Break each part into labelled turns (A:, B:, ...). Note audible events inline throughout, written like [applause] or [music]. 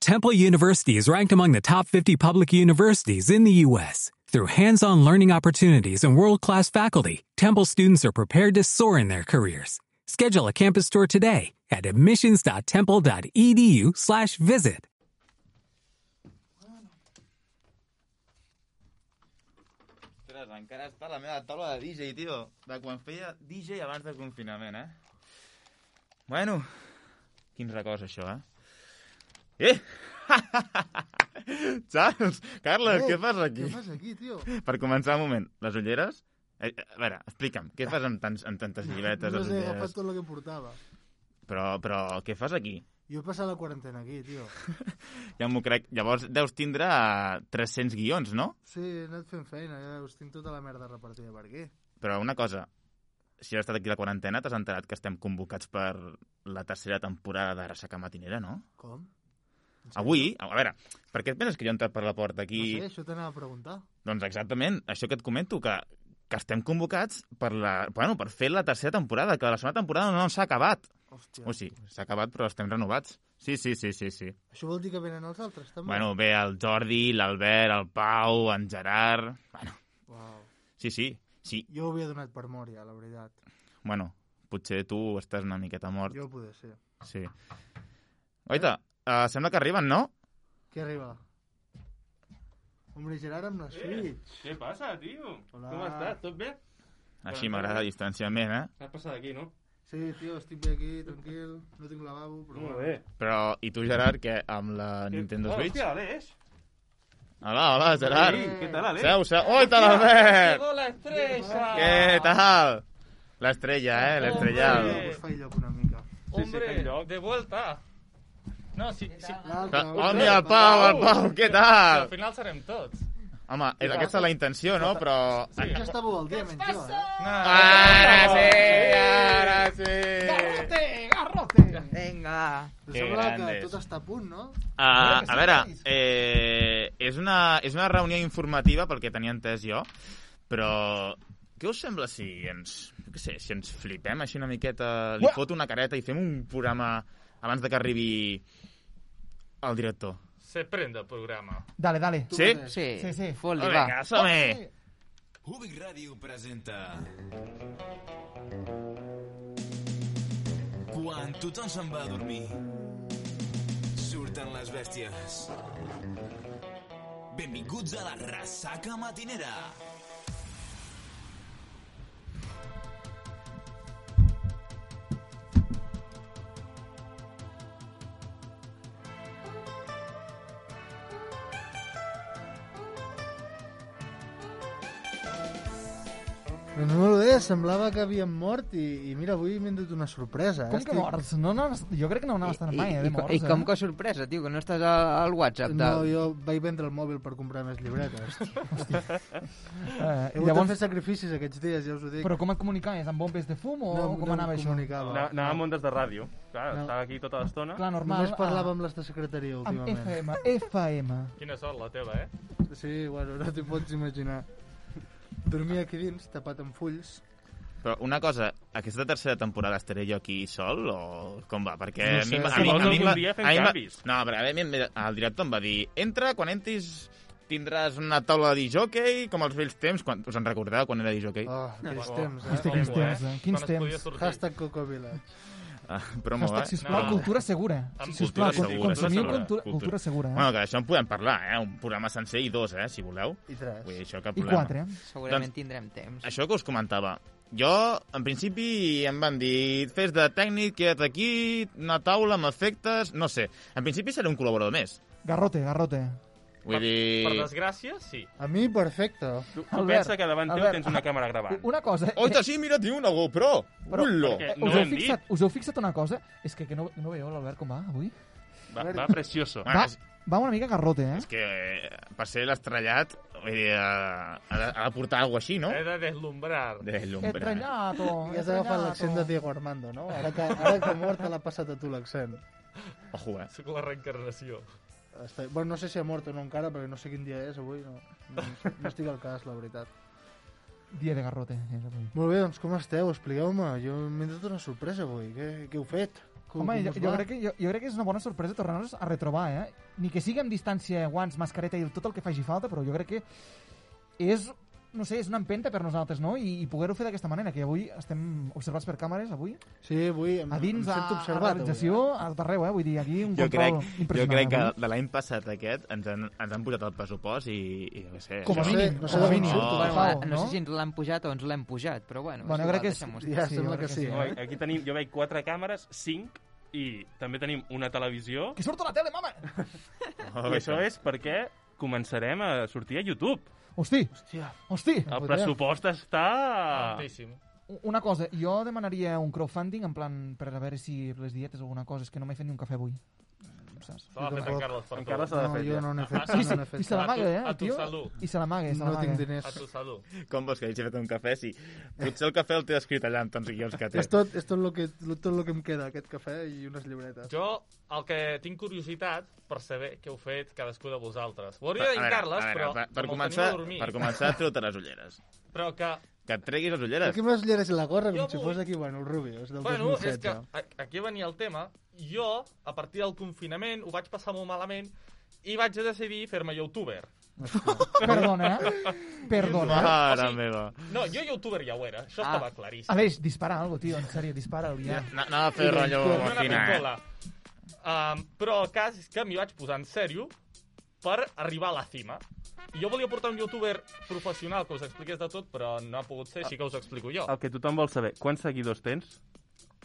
A: Temple University is ranked among the top 50 public universities in the U.S. Through hands on learning opportunities and world class faculty, Temple students are prepared to soar in their careers. Schedule a campus tour today at E admissions.temple.edu/slash visit.
B: Ostres, encara està la meva taula de DJ, tio. De quan feia DJ abans del confinament, eh? Bueno, quins records, això, eh? Eh! [laughs] Charles, Carles,
C: Eh,
B: què fas aquí?
C: Què fas aquí, tio?
B: Per començar, un moment, les ulleres... Eh, eh, a veure, explica'm, què fas amb, tants, amb tantes llibretes,
C: no
B: les
C: sé, he agafat
B: ulleres...
C: tot el que portava.
B: Però, però què fas aquí?
C: Jo he passat la quarantena aquí, tio.
B: Ja m'ho crec. Llavors deus tindre eh, 300 guions, no?
C: Sí, he anat fent feina, ja veus, tinc tota la merda repartida per aquí.
B: Però una cosa, si has estat aquí a la quarantena, t'has enterat que estem convocats per la tercera temporada de Ressaca Matinera, no?
C: Com? En sèrio?
B: Avui, a veure, per què et penses que jo he entrat per la porta
C: No
B: aquí?
C: sé, això t'anava a preguntar.
B: Doncs exactament, això que et comento, que, que estem convocats per, la, bueno, per fer la tercera temporada, que la segona temporada no s'ha acabat.
C: Hòstia,
B: O sigui, s'ha acabat però estem renovats. Sí, sí, sí, sí, sí.
C: això vol dir que venen els altres, també?
B: Bueno, ve el Jordi, l'Albert, el Pau, en Gerard... Bueno,
C: Uau.
B: sí, sí, sí.
C: Jo ho havia donat per mort, ja, la veritat.
B: Bueno, potser tu estàs una miqueta mort.
C: Jo ho poder ser.
B: Sí. Oita, uh, sembla que arriben, no?
C: Què arriba? Hombre, Gerard amb la Switch.
D: Què passa, tio?
C: Hola.
D: Com estàs? Tot bé?
B: Així m'agrada el distanciament, eh?
D: T'has passat aquí, no?
C: Sí, tio, estic bé aquí, tranquil. No tinc lavabo, però... bueno.
B: Però, i tu, Gerard, què? Amb
E: Eh,
B: la Nintendo Switch?
D: Hòstia, Aleix!
B: Hola, hola, Gerard.
D: Ei, què tal, Aleix?
B: Seu, seu. Oita, l'Albert!
D: Llegó la estrella!
B: Què tal? L'estrella, eh?
C: Tio,
B: L'estrella.
D: Hombre.
C: Us fa lloc una mica.
D: Hombre,
F: Sí, sí, lloc.
D: de vuelta! No, sí, sí,
C: L'altre,
B: Oh, mira, el Pau, el Pau, què
D: al
B: tal?
D: final serem tots.
B: Home, és- aquesta és la intenció, no? Però...
C: Ja estàveu al dia, menys jo, eh?
D: No,
B: Ara sí, ara sí!
G: Vinga.
C: Però
B: Que
C: sembla que
B: grandes.
C: tot està a punt, no?
B: Uh, a veure, eh, és, una, és una reunió informativa, pel que tenia entès jo, però què us sembla si ens, jo què sé, si ens flipem així una miqueta, li foto una careta i fem un programa abans de que arribi el director?
D: Se prende el programa.
F: Dale, dale.
B: Sí?
G: Sí,
F: Sí, sí.
G: Fot-li,
B: Vinga,
G: va.
C: Eh.
B: som-hi!
H: Ubic Ràdio presenta... Quan tothom se'n va a dormir, surten les bèsties. Benvinguts a la ressaca matinera.
C: Però no me lo deia, semblava que havíem mort i, i mira, avui m'he endut una sorpresa. eh?
F: Com que morts? No, no, jo crec que no anaves tan mai, eh, de
G: i,
F: morts.
G: I
F: eh?
G: com que sorpresa, tio, que no estàs al, al WhatsApp. De...
C: No, jo vaig vendre el mòbil per comprar més
F: [laughs]
C: llibretes.
F: Eh,
C: He hagut de
F: llavors,
C: fer sacrificis aquests dies, ja us ho dic.
F: però com et comunicaves? Amb bombes de fum o
C: no,
F: com
C: no
F: anava
C: em
F: això?
C: comunicava.
D: Ana- Anàvem ondes de ràdio. Clar,
C: No.
D: estava aquí tota l'estona.
F: Clar, normal.
C: Només parlava
F: ah,
C: amb les de secretaria
F: amb
C: últimament.
F: FM, FM.
D: Quina sort la teva, eh?
C: Sí, bueno, no t'hi pots imaginar. Dormia aquí dins, tapat amb fulls.
B: Però una cosa, aquesta tercera temporada estaré jo aquí sol o com va? Perquè
C: No sé,
B: em va-
C: si
D: vols
B: a em
D: algun
B: va-
D: dia fem
B: a mi em va-
D: canvis.
B: No, però a mi em- el director em va dir entra, quan entris tindràs una taula de disjockey, com els vells temps, quan, us en recordeu quan era disjockey? Oh.
F: Ah.
C: Oh, aquells
D: Oh,
C: temps,
D: oh,
C: eh?
F: Quins
D: eh?
F: temps, eh? Quins
D: Quan es podia
F: temps.
D: sortir.
C: Hashtag Coco Village.
B: Ah, promo, eh?
F: Hashtag, sisplau,
D: No.
F: cultura segura.
D: Amb
B: cultura
F: Sisplau, con-
B: segura,
F: consumiu
B: segura.
F: cultura,
B: Cultura.
F: cultura segura, eh?
B: Bueno, que d'això en podem parlar, eh? Un programa sencer i dos, eh? Si voleu.
C: I tres.
B: Vull dir, això cap
F: I
B: problema.
F: quatre.
G: Segurament
B: doncs-
G: tindrem temps.
B: Això que us comentava. Jo, en principi, em van dir fes de tècnic, queda't aquí, una taula amb efectes... No sé. En principi seré un col·laborador més.
F: Garrote, garrote.
B: Vull
D: Per
B: dir...
D: desgràcia, sí.
C: A mi, perfecte.
D: Tu, tu
F: Albert,
D: pensa que davant teu
F: Albert.
D: tens una càmera gravant.
F: Una cosa... eh,
B: Oita, sí, mira, tinc una GoPro!
F: Però-
B: Ullo!
D: Perquè-
F: eh,
D: No
F: us,
D: ho
F: heu
D: hem dit.
F: fixat, us heu fixat una cosa? És que, que no, no veieu l'Albert com va avui?
D: Va, va precioso.
E: Ah,
B: Bueno,
F: Va,
B: és-
F: va una mica garrote, eh?
B: És que eh, per ser l'estrellat, vull dir, eh, ha de, ha de portar alguna així, no?
D: He de deslumbrar.
B: De l'ombra.
F: Estrellato,
C: Ja has agafat l'accent de Diego Armando, no? Ara que, ara que mort te l'ha passat a tu l'accent.
B: Ojo, eh?
D: Soc la reencarnació.
C: Està... Bueno, no sé si ha mort o no encara, perquè no sé quin dia és avui, no, no, no estic al cas, la veritat.
F: Dia de garrote. és avui.
C: Molt bé, doncs com esteu? Expliqueu-me, jo m'he donat una sorpresa avui, què, què heu fet? Com-
F: Home,
C: com
F: jo,
C: us
F: jo,
C: va?
F: crec que, jo, jo crec que és una bona sorpresa tornar-nos a retrobar, eh? Ni que sigui amb distància, guants, mascareta i tot el que faci falta, però jo crec que és, no sé, és una empenta per nosaltres, no? I, i poder-ho fer d'aquesta manera, que avui estem observats per càmeres, avui,
C: Sí, avui em,
F: a dins,
C: em
F: a,
C: sento
F: a
C: observat.
F: l'organització, a tot arreu, eh? Vull dir, aquí un
B: Jo crec,
F: control
B: jo
F: impressionant. eh?
B: crec que
F: avui.
B: de l'any passat aquest ens han, ens han pujat el pressupost i, i no sé... Oh,
F: Com a
B: jo-
F: mínim,
C: no sé
F: com a
C: d'on
F: mínim.
B: surto,
F: per
B: Bueno,
F: favor,
G: no, no sé si ens l'han pujat o ens l'hem pujat, però bueno,
F: Bueno, jo crec que
G: deixem-ho
F: sí.
C: Ja, sembla
F: jo crec
C: que sí,
F: eh?
C: eh?
D: Aquí tenim, jo veig quatre càmeres, cinc, i també tenim una televisió.
F: Que surto a la tele, mama!
B: Oh,
D: I això és perquè començarem a sortir a YouTube.
F: Hosti,
C: Hòstia,
F: hosti!
D: El
C: Podem.
D: pressupost està...
E: Moltíssim.
F: Una cosa, jo demanaria un crowdfunding en plan per a veure si les dietes o alguna cosa, és que no m'he fet ni un cafè avui.
C: Mm,
F: Saps?
E: Estava fent en Carles per
D: Encara
E: tu.
D: s'ha de
C: no,
D: fer.
C: jo
D: ja.
C: no n'he fet,
F: Ah, Sí,
C: no
F: sí,
C: n'he
F: i
C: fet.
F: se l'amaga, eh,
E: A
F: el
E: tu
F: tio.
E: salut.
F: I se l'amaga, se
C: No
F: l'amaga.
C: tinc
E: A
C: diners.
E: Ah, tu salut.
B: Com vols que hagi fet un cafè? Sí. Potser el cafè el té escrit allà amb tants guions que té.
C: És tot, és tot lo que, tot lo que em queda, aquest cafè i unes llibretes.
E: Jo el que tinc curiositat per saber què heu fet cadascú de vosaltres. Ho
B: Per-
E: hauria de
B: a
E: dir
B: veure,
E: Carles,
B: a veure,
E: però
B: per, per,
E: com el
B: començar,
E: tenim a dormir.
B: per començar, treu-te les ulleres.
E: Però que,
B: Que et treguis les
C: Jo
B: ulleres.
C: Aquí amb les ulleres i la gorra, com
E: Jo
C: si
E: vull-
C: fos aquí, bueno, el Rubio, és del
E: bueno, és
C: 2016.
E: que a- aquí venia el tema. Jo, a partir del confinament, ho vaig passar molt malament i vaig decidir fer-me youtuber.
F: Perdona, eh? Perdona.
B: Mare
E: O sigui-
B: meva.
E: No, jo youtuber ja ho era, això
G: Ah.
E: estava claríssim.
F: Aleix, dispara algo, tio, en sèrio, dispara'l ja.
B: Ana- Anava a fer rotllo
E: Una
B: Martina, eh?
E: pistola. Um, però el cas és que m'hi vaig posar en sèrio per arribar a la cima. I Jo volia portar un youtuber professional que us expliqués de tot, però no ha pogut ser, així que us ho explico jo.
I: Ah.
D: El que tothom vol saber, quants seguidors tens?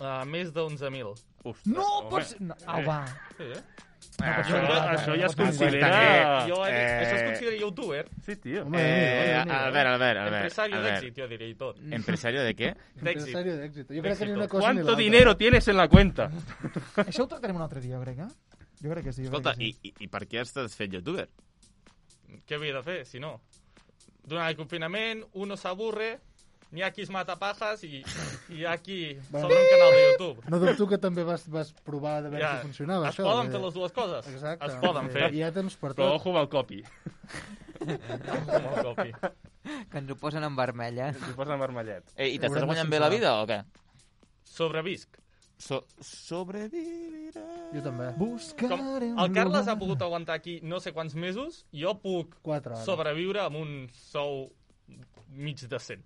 E: Uh, més de 11.000.
D: Ostres,
F: No
D: home.
F: pots... No, au, va.
E: Sí, eh?
B: Ah,
D: Això, això ja es considera...
B: Ah,
E: jo he dit,
B: eh.
E: això es considera youtuber,
D: Sí, tio.
C: Home,
B: Eh,
C: Déu-n'hi-do, Déu-n'hi-do.
B: Albert, Albert, Albert.
E: empresari
B: Albert.
E: d'èxit, jo diria, i tot.
B: ¿Empresario de qué?
E: D'èxit.
C: Empresario d'èxit. Jo crec que ni una cosa ni
D: ¿Cuánto
C: l'altra.
D: dinero tienes en la cuenta?
F: Això ho tractarem un altre dia, jo crec, eh? Jo crec que sí. Jo
B: Escolta,
F: crec
B: i,
F: que
B: i, i per què estàs fet youtuber?
E: Què havia de fer, si no? Durant el confinament, uno s'aburre, n'hi ha qui es mata pajas i hi ha qui
C: Bueno.
E: s'obre un canal de YouTube.
C: No dubto que també vas, vas provar de veure si funcionava,
E: es
C: això.
E: poden
C: perquè-
E: fer les dues coses.
C: Exacte.
E: Es poden fer.
C: Hi ha temps per
D: Però
C: tot.
D: ojo amb el copy.
E: Molt copi.
G: Que ens ho posen en vermell, eh?
D: Si posa marmellet.
B: Eh, I
C: t'estàs Haurem de guanyant bé la
B: vida o què?
E: Sobrevisc.
B: So sobreviviré...
C: Jo també.
F: Buscarem...
E: Com el Carles ha pogut aguantar aquí no sé quants mesos, jo puc
C: Quatre, ara.
E: sobreviure amb un sou mig decent.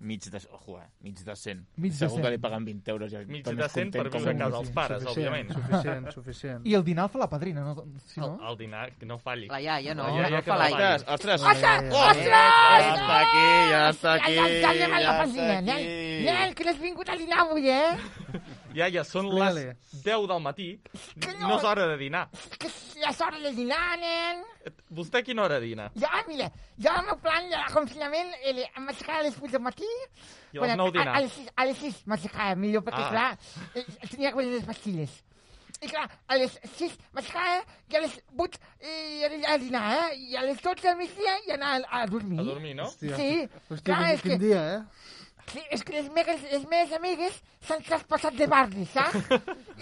B: Mig de... Ojo, eh? Mig de 100.
F: Mig de
B: Segur que
F: cent.
B: li paguen 20 euros. Ja
E: Mig
B: està més
E: decent per
B: content com
E: viure a
B: un-
E: casa dels pares,
C: Suficient,
E: òbviament.
C: suficient, suficient.
F: I el dinar el fa la padrina, no? Si
B: Oh,
F: no?
E: El dinar, que no falli.
G: La iaia no,
E: La iaia
G: no
E: que
G: fa
E: no
G: l'aigua.
E: balla.
B: Ostres, ostres! Ostres! Ostres! Ja està aquí, ja està aquí, ja està aquí.
F: que n'has vingut a dinar avui, eh?
E: Ja, ja són
C: Explica-li.
E: les 10 del matí. No és hora de dinar.
F: Que ja és hora de dinar, nen.
E: Vostè a quina hora dina?
F: Ja, mira, jo el meu plan de confinament era em aixecava a les 8 del matí.
E: I a les 9
F: a, a,
E: dinar.
F: les 6, a les 6 m'aixecava, millor, perquè,
E: Ah.
F: ah. clar, eh, tenia que venir les pastilles. I clar, a les 6 m'aixecava i a les 8 i a, a dinar, eh? I a les 12 del migdia i anar a, a dormir.
E: A dormir, no?
C: Hòstia.
F: Sí,
C: Hòstia,
F: clar,
G: doncs
C: quin,
F: és
C: quin
F: que,
C: dia, eh?
F: sí, és que les meves, les meves amigues s'han traspassat de barri, saps?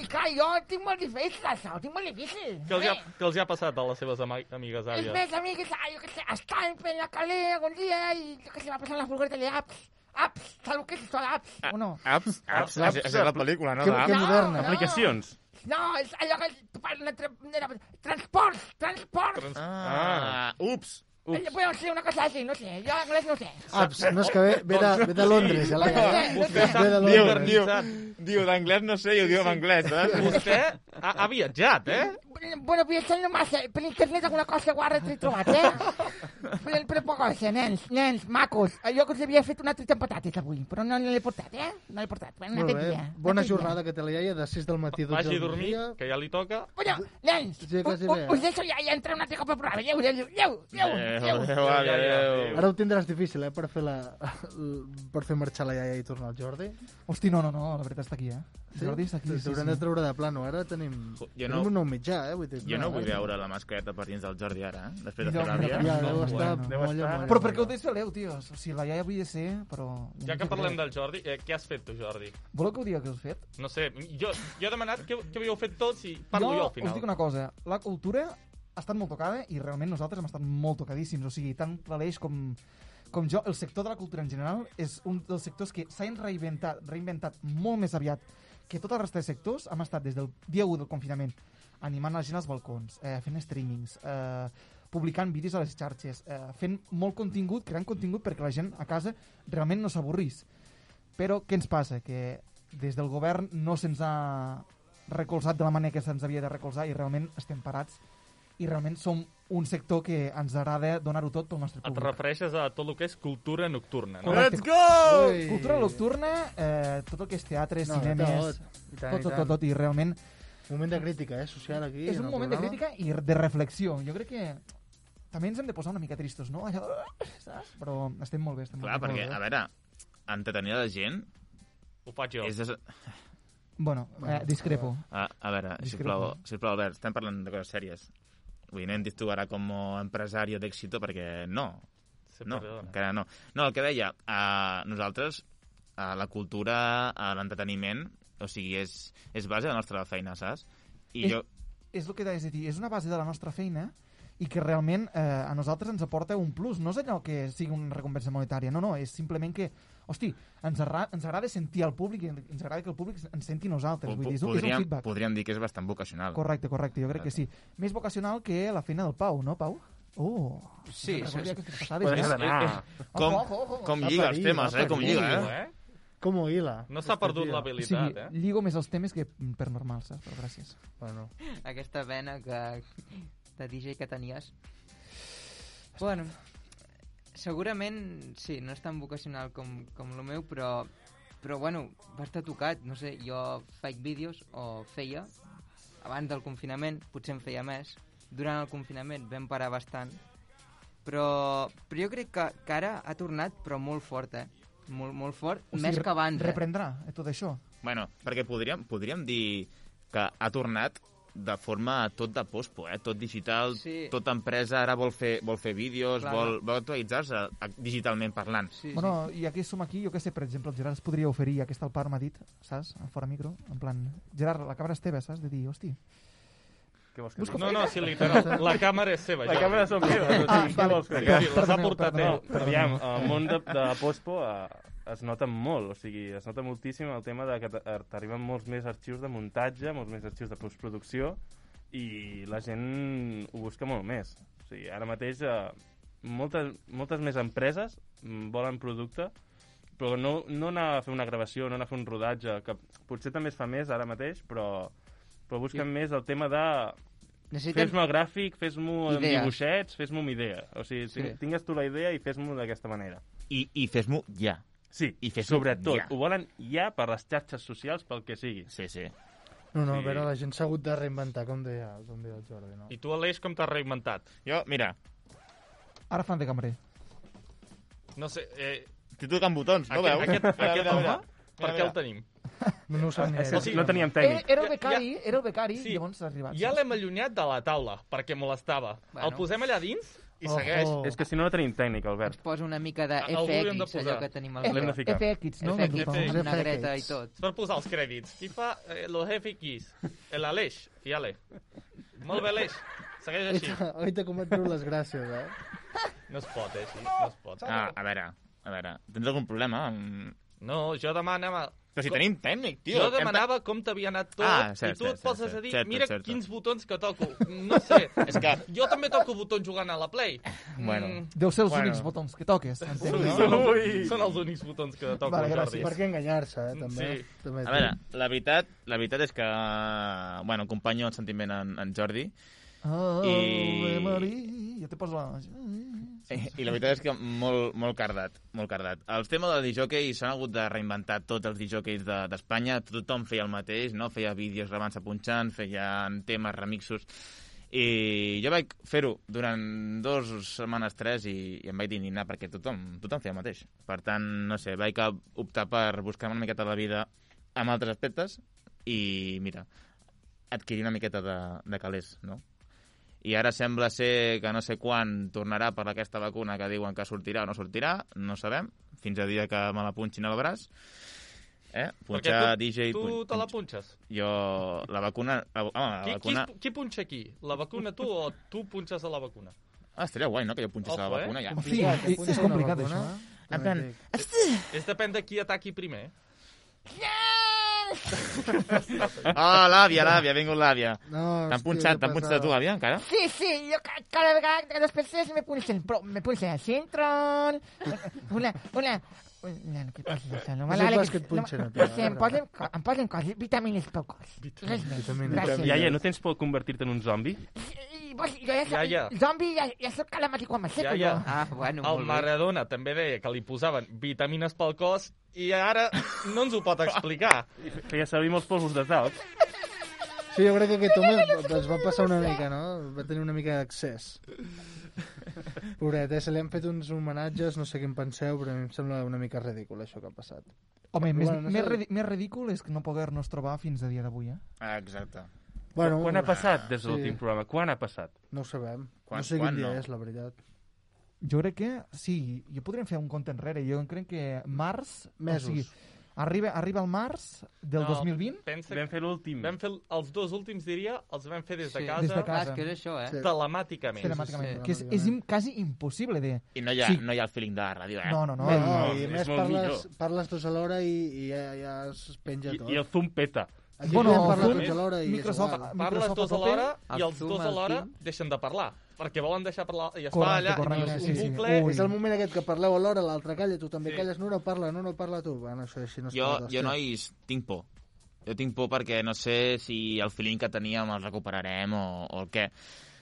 F: I clar, jo ho tinc molt difícil, això, ho tinc molt difícil.
E: Què els, hi ha,
F: Eh?
E: què els hi ha passat a les seves ama- amigues
F: Els
E: àvies?
F: meus amics, ah, jo què sé, estaven fent la calé algun dia i jo què sé, va passar la furgoneta i apps, apps, sabeu què és això, apps, o no?
B: Apps, apps, això és la pel·lícula, no?
C: Que,
B: d'apps?
C: que moderna.
F: No.
D: Aplicacions.
F: No, és allò que tu parles de tra de la- transports, transports. Trans
B: Ah, ups!
F: Ups. Podeu ser una cosa així, no sé, jo en anglès no ho sé.
C: Apps, Ah, no és que ve, ve, de, ve de Londres, a la
F: Vostè
C: Ve de
B: Diu,
C: Londres.
B: diu, diu, d'anglès no sé, i ho diu en anglès, saps?
E: [laughs] Vostè ha, ha viatjat, eh?
F: Bueno, pues viatjant no massa, per eh, internet alguna cosa guarra t'he trobat, [laughs] eh? però, però poca cosa, nens, nens, macos. Eh, Jo que us havia fet una truita amb patates avui, però no l'he portat, eh? No l'he portat, bueno,
C: Molt
F: aquest
C: bé.
F: dia.
C: Bona
F: aquest dia.
C: jornada que té la iaia de 6 del matí a 12
E: Vagi a
C: del
E: dormir,
C: migdia.
E: que ja li toca.
F: Bueno, nens,
C: Sí, quasi
F: u-
C: bé,
F: u- us
C: eh?
F: deixo ja, ja entrar un altre cop al programa. Adéu, adéu, adéu, adéu,
B: Adéu,
F: adéu.
B: adéu, àvia, adéu.
C: Ara ho tindràs difícil, eh, per fer, la, per fer marxar la iaia i tornar al Jordi.
F: Hosti, no, no, no, la veritat està aquí, eh? El Jordi està aquí, sí, sí.
C: T'haurem de treure de plano. Ara tenim,
B: Jo
C: tenim
B: no-
C: un nou mitjà, eh? Vull dir,
B: Jo no
C: clar,
B: vull
C: eh?
B: veure la mascareta per dins del Jordi ara, eh? Després de
F: Idò,
B: fer l'àvia.
C: Ja, deu estar
F: Bueno.
C: molla,
D: estar-
C: molla,
F: Però per què ho
C: molla.
F: desveleu, tios? O sigui, la iaia havia de ser, però...
E: Ja que parlem del Jordi, eh, què has fet tu, Jordi?
F: Voleu que ho digui el que us fet?
E: No sé, jo, jo he demanat què, què havíeu fet tots i parlo jo, al final.
F: us dic una cosa, la cultura ha estat molt tocada i realment nosaltres hem estat molt tocadíssims, o sigui, tant l'Aleix com, com jo, el sector de la cultura en general és un dels sectors que s'ha reinventat, reinventat molt més aviat que tota la resta de sectors hem estat des del dia 1 del confinament animant la gent als balcons, eh, fent streamings, eh, publicant vídeos a les xarxes, eh, fent molt contingut, creant contingut perquè la gent a casa realment no s'avorrís. Però què ens passa? Que des del govern no se'ns ha recolzat de la manera que se'ns havia de recolzar i realment estem parats i realment som un sector que ens agrada donar-ho tot pel nostre
E: Et
F: públic.
E: refereixes a tot el que és cultura nocturna, no?
F: Correcte.
B: go!
C: Ui.
F: Cultura nocturna, eh, tot el que és teatre,
C: No,
F: cinemes,
C: tot. I tant,
F: tot,
C: i
F: tot,
C: tant.
F: tot, tot, i realment
C: Moment de crítica, eh, social aquí.
F: és
C: en
F: un
C: el
F: moment de
C: programa.
F: crítica i de reflexió. Jo crec que també ens hem de posar una mica tristos, no? Allò, "Ah", saps? Però estem molt bé. Estem
B: Clar,
F: molt bé,
B: perquè,
F: molt
B: a
F: bé.
B: veure, entretenir a la gent
E: Ho faig jo.
B: és... Des...
F: Bueno, eh, discrepo.
B: A, a veure,
F: Discrepo.
B: sisplau, sisplau, Albert, estem parlant de coses sèries. Vull dir, no hem dit tu ara com empresario d'èxito perquè no,
E: Sí,
B: no,
E: perdona.
B: encara no. No, el que deia, eh, nosaltres, eh, la cultura, eh, l'entreteniment, o sigui, és, és base de la nostra feina, saps? I
F: És-
B: jo,
F: És el que t'haig de dir, és una base de la nostra feina i que realment eh, a nosaltres ens aporta un plus. No és allò que sigui una recompensa monetària, no, no, és simplement que, hosti, ens, arra, ens agrada sentir al públic i ens agrada que el públic ens senti a nosaltres. Vull dir, és un, és un
B: podríem,
F: feedback.
B: podríem dir que és bastant vocacional.
F: Correcte, correcte, jo crec que sí. Més vocacional que la feina del Pau, no, Pau? Oh,
G: Sí,
F: no
G: sí,
F: recordia
G: sí.
F: aquestes passades,
C: Podria
F: eh?
C: anar.
B: Com,
F: Ojo, ojo, ojo.
B: com
C: Va
B: lliga els
C: parir,
B: temes,
C: va
B: eh? Com
C: parir.
B: lliga, eh?
E: Eh?
C: Com ho hila.
E: No s'ha
C: Este
E: perdut
C: tio.
F: O sigui,
E: l'habilitat, eh?
F: lligo més els temes que per normal, saps? Però gràcies.
C: Bueno,
G: Aquesta vena que, de DJ que tenies. Bueno, segurament, sí, no és tan vocacional com, com el meu, però, però bueno, va estar tocat. No sé, jo faig vídeos, o feia, abans del confinament, potser en feia més. Durant el confinament vam parar bastant. Però, però jo crec que, que ara ha tornat, però molt fort, eh? Molt, molt fort,
F: O
G: més que abans. Eh?
F: Reprendrà eh, tot això.
B: Bueno, perquè podríem, podríem dir que ha tornat de forma tot de pospo, eh? tot digital,
G: Sí.
B: tota empresa ara vol fer, vol fer vídeos,
G: Clar.
B: vol, vol actualitzar-se eh, digitalment parlant.
G: Sí, sí.
F: Bueno, i aquí som aquí, jo que sé, per exemple, el Gerard es podria oferir, aquesta el Parc m'ha dit, saps? A fora micro, en plan, Gerard, la càmera és teva, saps? De dir, hosti,
I: Què vols que
F: Busca-
I: digui?
E: No, no, sí, literal. La càmera és seva,
I: La
E: Jordi.
I: càmera són
D: Ah,
I: meves, o sigui, què vols que
E: Sí,
I: digui?
F: Per-
E: les ha
F: perdoneu,
E: portat eh.
F: perdoneu.
E: ell.
I: No, però aviam, el món de, de Pospo eh, es nota molt, o sigui, es nota moltíssim el tema de que t- eh, t'arriben molts més arxius de muntatge, molts més arxius de postproducció, i la gent ho busca molt més. O sigui, ara mateix eh, moltes, moltes més empreses mm, volen producte, però no, no anar a fer una gravació, no anar a fer un rodatge, que potser també es fa més ara mateix, però, però busquen més el tema de
G: Necessitem
I: fes-me el gràfic, fes-m'ho amb
G: Idees.
I: dibuixets, fes-me una idea. O sigui,
G: Sí.
I: sí. tingues tu la idea i fes-m'ho d'aquesta manera.
B: I, i fes-m'ho ja.
I: Sí,
B: I
I: i
B: fes-ho
I: sobretot,
B: ja.
I: ja. ho volen ja per les xarxes socials, pel que sigui.
B: Sí, sí.
C: no, no,
I: Sí.
C: a veure, la gent s'ha hagut de reinventar, com deia, com deia el Jordi, no?
E: I tu, Aleix, com t'has reinventat?
B: Jo, mira,
F: ara fan de cambrer.
E: No sé, eh,
B: t'hi toquen botons, no veus?
E: aquest,
B: Mira,
E: aquest
B: mira,
E: home,
B: mira.
E: per què el tenim?
C: No, no ho
E: Ah,
C: sap ni ell.
I: No, no teníem
F: Era,
I: tècnic.
F: Eh, era el
E: Ja-
F: becari, era el becari,
E: Sí.
F: i llavors s'ha arribat.
E: Ja
F: saps?
E: l'hem allunyat de la taula, perquè molestava.
G: Bueno.
E: El posem allà dins i segueix.
C: Ojo.
I: És que si no, no tenim tècnic,
G: ens
I: Albert.
G: posa una mica de
E: A- algú hi hem de
G: FX, allò
E: posar.
G: que tenim al
F: F-
I: L'hem de
G: meu.
I: ficar.
F: FX, no?
G: FX,
F: Doncs,
E: FX.
G: amb una
C: FX.
G: greta i tot.
E: És per posar els crèdits. Qui fa eh, los FX? El Aleix. I Ale. Molt bé, Aleix. Segueix així.
C: [laughs] Oita, oita com et treu les gràcies, eh?
E: No es pot, eh, així. No es pot.
B: Ah, a veure, a veure, tens algun problema? amb-
E: No, jo demanava...
B: Però si
E: Com-
B: tenim tècnic, tio.
E: Jo
B: Hem-
E: demanava com t'havia anat tot
B: Ah, cert,
E: i tu
B: cert,
E: et poses
B: cert,
E: a dir,
B: cert,
E: mira
B: cert,
E: quins botons que toco. No sé, és que jo també toco botons jugant a la Play.
B: Bueno.
E: Mm.
F: Deu ser els
B: Bueno.
F: únics botons que toques,
E: Són,
F: entenc.
E: no? són, els, són els únics botons que toco,
C: Vale,
E: Jordi.
C: gràcies. Per què enganyar-se, eh, també.
E: Sí.
C: també
B: A veure, la veritat, la veritat és que... eh, Bueno, companyo el sentiment en, en Jordi,
F: Ah,
B: I-
F: Maria, ja te poso la...
B: I la veritat és que molt, molt cardat, molt cardat. El tema del disjockey s'han hagut de reinventar tots els disjockeys de- d'Espanya, tothom feia el mateix, no? Feia vídeos gravant-se punxant, feien temes, remixos... I jo vaig fer-ho durant dues setmanes, tres, i, i em vaig indignar perquè tothom, tothom feia el mateix. Per tant, no sé, vaig a- optar per buscar una miqueta de vida amb altres aspectes i, mira, adquirir una miqueta de, de calés, no? i ara sembla ser que no sé quan tornarà per aquesta vacuna que diuen que sortirà o no sortirà, no sabem, fins a dia que me la punxin al braç. Eh?
E: Perquè
B: Punxar
E: tu,
B: DJ...
E: tu
B: punx-
E: te la punxes.
B: Jo, la vacuna... La, home, la
E: Qui, qui,
B: vacuna...
E: qui punxa aquí? La vacuna tu o tu punxes a la vacuna?
B: Ah, estaria guai, no?, que jo punxés la
E: Ojo, eh?
B: vacuna ja.
F: En fi, és, és eh? complicat, això.
B: En plan,
E: eh? És depèn de qui ataqui primer.
G: No,
B: Ah, l'àvia, l'àvia, ha vingut l'àvia.
C: No,
B: T'han punxat, t'han punxat a tu, eh? àvia, encara?
F: Sí, sí, jo ca- cada vegada que les persones me punxen, però me punxen a Centron... Una, una... No, no, que posis això, no
C: És el
F: m'agrada
C: cas que et punxen a
F: no,
C: tu,
F: sí, em
C: ara.
F: posen, co- em posen coses, vitamines pel cos. Res més,
C: Vitamines.
F: gràcies.
G: eh,
I: Iaia, no tens por convertir-te en un zombi?
F: I, vols, jo ja, ja, ja.
E: Iaia.
F: zombi, ja, ja soc calamari quan me seco,
E: Iaia.
F: jo.
G: Ah, bueno,
E: El
G: molt bé.
E: Maradona també deia que li posaven vitamines pel cos i ara no ens ho pot explicar.
I: Feia servir molts polvos de talc.
C: Sí, jo crec que aquest home es va passar una mica, no? Va tenir una mica d'accés. Pobret, eh? Se li han fet uns homenatges, no sé què en penseu, però a mi em sembla una mica ridícul això que ha passat.
F: Home, més,
C: Bueno, no sé.
F: més, ridi- més ridícul és no poder-nos trobar fins a dia d'avui, eh?
B: Ah, exacte.
C: Bueno,
I: Quan ha passat des de
C: sí.
I: l'últim programa? Quan ha passat?
C: No ho sabem.
B: Quan-
C: no sé
B: quan
C: quin dia
B: no?
C: és, la veritat.
F: Jo crec que, sí, jo podríem fer un compte enrere. Jo crec que març...
C: Mesos.
F: O sigui, arriba, arriba el març [laughs] del
E: No.
F: 2020
E: Pensa
I: Vam
E: que
I: fer l'últim.
E: vam fer els dos últims, diria, els vam fer des de
G: Sí.
E: casa,
F: Des de
G: Clar,
F: casa.
G: és que és això, eh?
C: Sí.
E: telemàticament.
F: telemàticament,
G: sí,
F: que és, és im, quasi impossible de...
B: I no hi ha,
F: Sí.
B: no hi ha el feeling de la ràdio, eh?
F: No, no,
C: No,
F: no.
C: no,
I: no,
C: i a
I: és
C: més
I: molt
C: parles,
I: millor.
C: parles tots alhora i, i ja, ja es penja
I: I,
C: tot.
I: I el zoom peta.
C: Aquí
F: Bueno,
C: podem parlar
F: Zoom,
C: tots alhora i
F: Microsoft,
C: és igual.
E: Parles
F: Microsoft
E: dos
F: a tope.
E: alhora i
G: el
E: els
G: Zoom,
E: dos
G: el
E: alhora
G: Teams.
E: deixen de parlar, perquè volen deixar parlar i es
F: Correcte,
E: parla,
F: correcte,
E: i és
F: sí,
E: un
F: sí.
E: bucle...
F: Ui.
C: És el moment aquest que parleu alhora, l'altre calla, tu també calles, no, no parla, no, no parla tu. Bueno, això així no es
B: Jo,
C: pot,
B: jo,
C: hòstia.
B: nois, tinc por. Jo tinc por perquè no sé si el feeling que teníem el recuperarem o, o el què.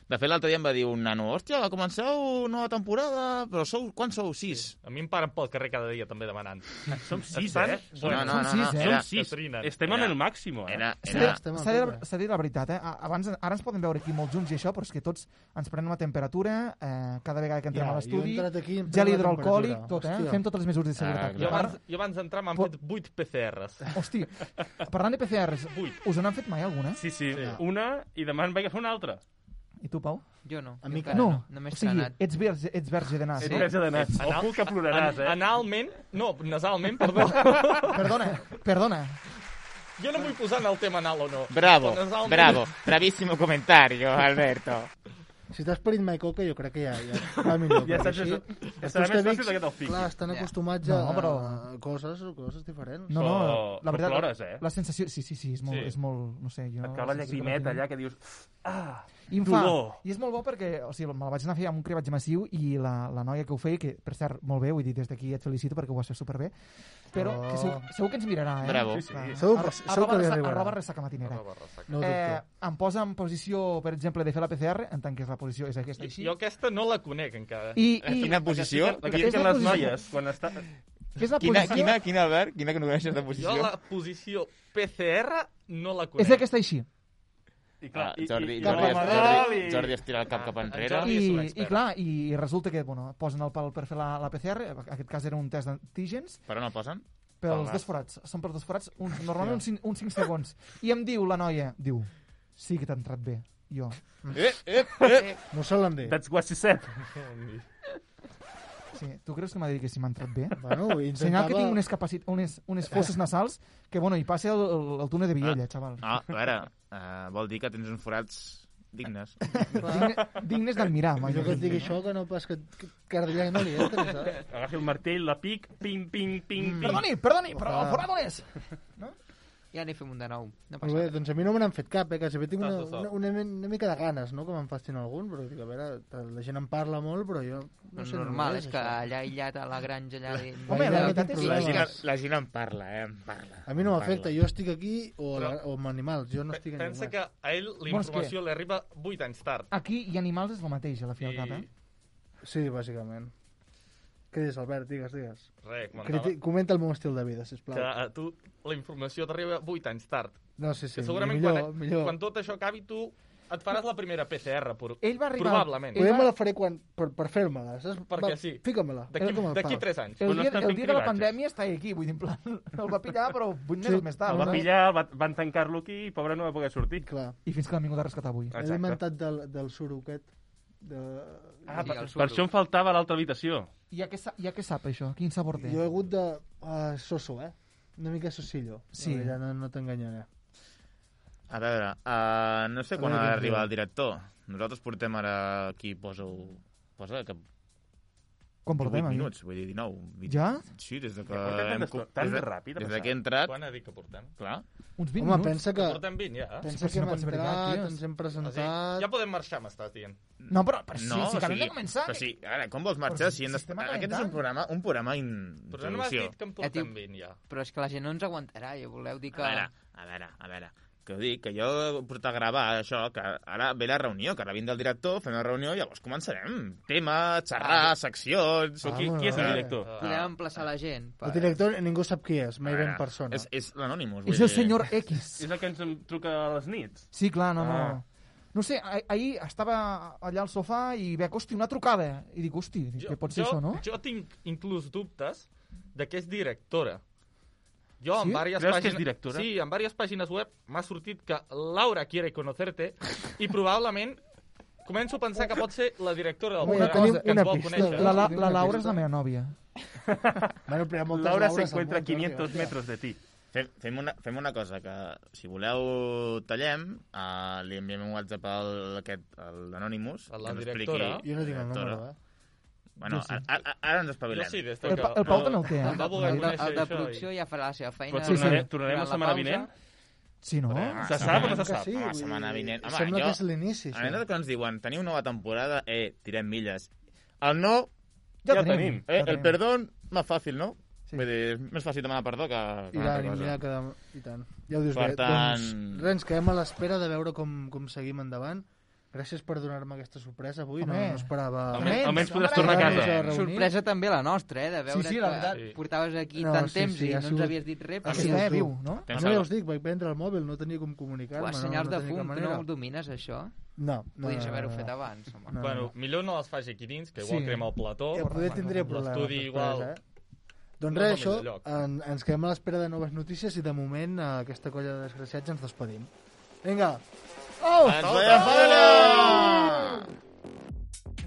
B: De fet, l'altre dia em va dir un nano, hòstia, comenceu nova temporada, però sou, quan sou? Sis?
E: A mi em paren pel carrer cada dia també demanant.
I: Som sis,
E: Estan-
I: eh?
B: No, no, no,
F: Són
B: no.
F: sis, eh?
B: Era,
I: Som sis.
E: Caterina.
I: Estem en
B: Era-
I: el màxim, eh?
B: era,
F: S'ha
B: era,
F: de,
C: Estem al
F: s'ha de,
C: tope.
F: s'ha de dir la veritat, eh? A- Abans, ara ens podem veure aquí molt junts i això, però és que tots ens prenem la temperatura eh, cada vegada que entrem
C: Ja,
F: a
C: jo he
F: l'estudi,
C: entrat aquí i em prenc
F: gel
C: la
F: hidroalcohòlic,
C: temperatura.
F: tot, eh?
C: Hòstia.
F: Fem totes les mesures de seguretat.
E: Jo
B: clar.
F: Ara-
E: abans, jo abans d'entrar m'han
F: Po-
E: fet 8 PCRs.
F: Hosti, parlant de PCRs,
E: Vuit.
F: us n'han fet mai alguna?
I: Sí, sí, una i demà en vaig a fer una altra.
F: I tu, Pau?
G: Jo Eh, no.
C: A
G: jo
C: mi
G: encara
C: que-
F: No,
G: Només
F: o sigui,
G: trenat.
F: ets verge, ets verge de nas.
I: Ets
F: eh?
I: verge de nas. Ojo que ploraràs, eh?
E: Analment, no, nasalment,
F: [laughs]
E: perdó.
F: Perdona, perdona.
E: Jo no vull posar en el tema anal o no.
B: Bravo,
E: Però nasalment-
B: bravo, bravissimo comentario, Alberto.
C: Si t'has parit mai coca, jo crec que ja, ja va millor.
I: Ja
C: perquè
I: saps,
C: així
I: això-
C: els
I: estarà
C: teus
I: més fàcil
C: amics,
I: de que te'l fiquis.
C: Clar, estan
G: Ja.
C: acostumats
F: No,
C: a,
F: però-
C: a coses, coses diferents.
F: No, no,
I: Però-
F: la
I: però
F: veritat...
I: plores, eh?
F: La sensació... Sí, sí, sí, és molt,
I: Sí.
F: És molt no sé, jo...
I: Et cau la llagrimeta allà que dius...
F: I, em fa,
I: dolor.
F: I és molt bo perquè, o sigui, me la vaig anar a fer amb un cribatge massiu i la, la noia que ho feia, que per cert, molt bé, vull dir, des d'aquí et felicito perquè ho vas fer superbé, però oh. que segur, segur que ens mirarà, eh?
B: Bravo.
I: Sí, sí.
C: Segur que- segur que li arribarà.
F: Arroba ressaca matinera.
C: No ho
F: eh,
C: dubto.
F: em posa en posició, per exemple, de fer la PCR, en tant que la posició és aquesta així.
E: Jo aquesta no la conec encara.
F: I, i
B: Quina posició?
I: La que
F: Aquesta
I: fiquen
F: és la
I: les
F: posició.
I: noies quan està...
F: que és la
B: Quina,
F: posició...
B: quina, quina, Albert? Quina que no coneixes de
E: Jo
B: posició?
E: la posició PCR no la conec.
F: És aquesta així.
I: I
B: Ah,
I: clar, i-
B: Jordi,
I: i- i
B: Jordi, Jordi,
I: el Ramadol i- Ah,
B: Jordi estira el cap cap enrere.
E: Jordi-
F: I,
E: és un
F: I
E: expert.
F: clar, i resulta que bueno, posen el pal per fer la, la PCR, en aquest cas era un test d'antígens,
B: Però no el posen?
F: pels dos forats. Són pels dos forats, un, normalment uns, cin- uns 5 segons. I em diu la noia, diu, sí que t'ha entrat bé. Jo,
B: Eh, eh, eh.
C: M'ho solen dir.
I: That's what she said.
F: sí, tu creus que m'ha dit que si m'ha entrat bé?
C: Bueno,
F: Senyal
C: intentava...
F: que tinc unes, capacit unes, unes fosses nasals que, bueno, hi passa el, el, el túnel de Viella, xaval.
B: No, Ah, a veure, eh, vol dir que tens uns forats dignes.
F: Digne, dignes d'admirar, mai.
C: Jo que et digui això, que no pas que, que Cardillac no li entri, saps?
E: [laughs]
I: Agafi el martell, la pic, ping, ping,
C: Mm.
I: ping, ping.
F: Perdoni, perdoni, però el forat on és?
G: Ja n'hi fem un de nou. No
C: Molt
G: passa
C: bé,
G: res.
C: doncs a mi no me n'han fet cap, eh? Quasi bé tinc una,
E: Tanto sol.
C: una, una, una mica de ganes, no?, que me'n facin algun, però dic, a veure, la gent en parla molt, però jo no sé...
G: normal,
C: d'on
G: és que
C: això.
G: allà aïllat a la granja allà... De...
F: Home, la
C: no
F: veritat
C: tinc
F: és
B: La
F: que...
B: gent, la gent en parla, eh? En parla.
C: A mi no
B: En
C: m'afecta,
B: parla.
C: jo estic aquí o, la, o amb animals, jo no
E: Pe-
C: estic en
E: Pensa
C: animals.
E: que a ell la
F: Bueno, és
E: informació li arriba 8 anys tard.
F: Aquí i animals és el mateix, a la fi al cap, eh?
C: Sí, bàsicament. Què dius, Albert? Digues, digues.
E: Res, comentava
C: Criti... Comenta el meu estil de vida, sisplau.
E: que a tu la informació t'arriba 8 anys tard.
C: No, sí, sí,
E: que segurament
C: millor,
E: quan,
C: millor.
E: quan tot això acabi tu et faràs la primera PCR. Por...
F: Ell va arribar...
E: Probablement.
F: Ell
C: Poder me
F: va...
C: la faré quan... per, per fer-me-la, saps?
E: Perquè
C: Va,
E: sí.
C: Fica-me-la.
E: D'aquí
C: Era com el
E: d'aquí
C: pau.
E: 3 anys.
F: El
I: On
F: dia, el
I: estan
F: dia
I: fent
F: de la
I: cribratges.
F: pandèmia està aquí, vull dir, en plan, [laughs] el va pillar, però 8 mesos
C: Sí,
F: més
I: El
F: tard.
I: va
F: no?
I: pillar, el va, van tancar-lo aquí i pobre no va poder sortir.
C: Clar.
F: I fins que l'han vingut a rescatar avui.
C: M'he alimentat del, del suro aquest. De...
I: Ah,
G: Sí,
I: per,
G: el suro.
I: per això em faltava l'altra habitació.
F: I a què, sa- i a què sap, això? Quin sabor té?
C: Jo he hagut de... Uh, soso, eh? Una mica sosillo.
F: Sí.
C: Ja no, no t'enganyaré.
B: A veure, uh, no sé
C: A
B: quan
C: veure
B: ha
C: què
B: d'arribar
C: diu.
B: el director. Nosaltres portem ara aquí, poso... Posa que...
F: Quan portem?
B: 8
F: aquí?
B: minuts, vull dir 19. 20...
F: Ja?
B: Sí, des de que...
I: portem
B: hem
I: tantes
B: co-
I: coses,
B: des
I: tan
B: de-
I: ràpid ha
B: Des de
I: passat.
B: que he entrat,
E: Quan ha dit que portem?
B: clar,
F: Uns 20
C: Home,
F: minuts?
C: pensa que...
E: Portem 20, ja. eh?
C: Pensa
F: Però si
C: que
F: no
C: hem
F: pots verificar,
C: entrat,
F: tio.
C: ens hem
E: O sigui,
C: presentat...
E: ja podem marxar, m'estàs dient.
F: No, però, però sí,
B: no,
F: sí, que
B: o
F: hem de
B: sigui,
F: començar...
B: Però sí, a veure, com vols marxar?
F: Però si
B: Si hem de...
F: sistema
B: Aquest és
F: calendari.
B: un programa, un programa
E: Però
I: Doncs
E: no m'has
B: d'introducció.
E: dit que en
G: tio.
E: portem 20, ja.
G: Però és que la gent no ens aguantarà, jo voleu dir que...
B: A veure, a veure, a veure. Que ho dic, que jo portar a gravar això, que ara ve la reunió, que ara vinc del director, fem la reunió, i llavors començarem. Tema, xerrar,
G: Ah.
B: seccions...
I: Però qui,
C: Ah,
I: qui és el
C: eh.
I: director?
G: Podem emplaçar
E: ah.
G: la gent. Per...
C: El director ningú sap qui és, mai
B: A
C: ben
B: veure,
C: persona.
B: És, és l'anònimus. vull
F: És el
B: dir.
F: senyor X.
I: És el que ens em truca a les nits?
F: Sí, clar, no,
I: Ah.
F: no. No sé, ah- ahir estava allà al sofà i veig, hosti, una trucada. I dic, hosti, dic, què pot ser
E: jo,
F: això, no?
E: Jo tinc inclús dubtes de que és directora. Jo, en
F: Sí?
E: diverses
I: Creus que
E: pàgines...
I: és directora?
E: Sí, en diverses pàgines web m'ha sortit que Laura quiere conocerte i probablement començo a pensar que pot ser la directora del
F: Una
E: programa
F: cosa,
E: que ens
C: una
E: vol
C: pista.
E: conèixer.
F: La, la,
C: Tenim
F: la
C: una
F: Laura és la
C: pista.
F: meva nòvia.
C: Bueno, però hi ha moltes
I: Laura
C: Laures al
I: s'encuentra
C: món, Jordi,
I: 500
C: hòstia.
I: metres de ti.
B: Fem, fem, una, fem una cosa, que si voleu tallem, uh, li enviem un WhatsApp al, aquest, a l'anònimus,
E: A
B: que
E: la
B: ens
E: directora.
B: expliqui...
C: Jo no tinc el
B: Directora.
C: número, eh?
B: Bueno,
F: Jo sí.
B: a, a, ara ens espavilem.
E: Jo sí, des de
F: El,
E: que...
F: Pa- el Pau també el té,
G: El
F: eh?
E: Va
G: de,
E: voler
G: el, de,
E: conèixer
G: el de
E: això
G: producció ja farà la seva feina.
I: Però
F: Sí, sí.
I: tornarem, tornarem
G: Durant
I: la setmana
G: pausa.
I: vinent?
F: Sí, no?
B: Tornem.
I: Se
B: Ah,
I: sap o no
C: Sembla
I: se
C: que
I: sap?
B: Home,
C: vull dir,
B: setmana vinent. Home,
C: Sembla
B: jo-
C: que és l'inici,
B: A
C: això.
B: nosaltres que ens diuen, teniu nova temporada, eh, tirem milles. El no,
I: Ja
F: tenim,
I: tenim.
F: ja
B: eh, el
F: tenim.
B: perdón, més fàcil, no?
F: Sí.
B: Sí. Vull dir, és més fàcil demanar perdó que, que
C: I
B: una
C: tant,
B: altra
C: i mira
B: cosa.
C: que... I tant. Ja ho dius
B: Per
C: bé.
B: tant-
C: Doncs, res, ens quedem a l'espera de veure com, com seguim endavant. Gràcies per donar-me aquesta sorpresa avui. No,
F: Home.
C: no esperava...
I: Almenys, almenys podràs
F: Home,
I: tornar a
C: Tornar-nos
I: casa.
C: a reunir.
G: Sorpresa també la nostra, eh? De veure
F: sí, la veritat.
G: que portaves aquí
C: No,
G: tant
C: sí,
G: temps
C: sí,
G: i
C: ha
G: no ens
C: sigut-
G: havies dit res,
C: ha
F: Que é
G: però
C: sigut-
G: sí,
F: està
C: sí.
F: viu, no?
C: A mi ja us dic, vaig prendre el mòbil, no tenia com comunicar-me.
G: Uah, senyals
C: no, no
G: de
C: tenia cap
G: fum, tu
C: manera.
G: no ho domines, això?
C: No, no,
G: Podies
C: no,
G: haver-ho
C: no, no.
G: fet abans, home.
C: No,
E: Bueno,
C: no,
E: millor no les faci aquí dins, que igual
F: Sí. Eh,
E: crema el plató.
C: no. Ja Eh, poder tindria
E: L'estudi
C: problemes. després,
E: igual.
C: eh? Doncs
E: No
C: res,
E: canvia
C: això,
E: de lloc.
C: en, ens quedem a l'espera de noves notícies i de moment a aquesta colla de desgraciats ens despedim. Vinga!
B: Ens veiem fora!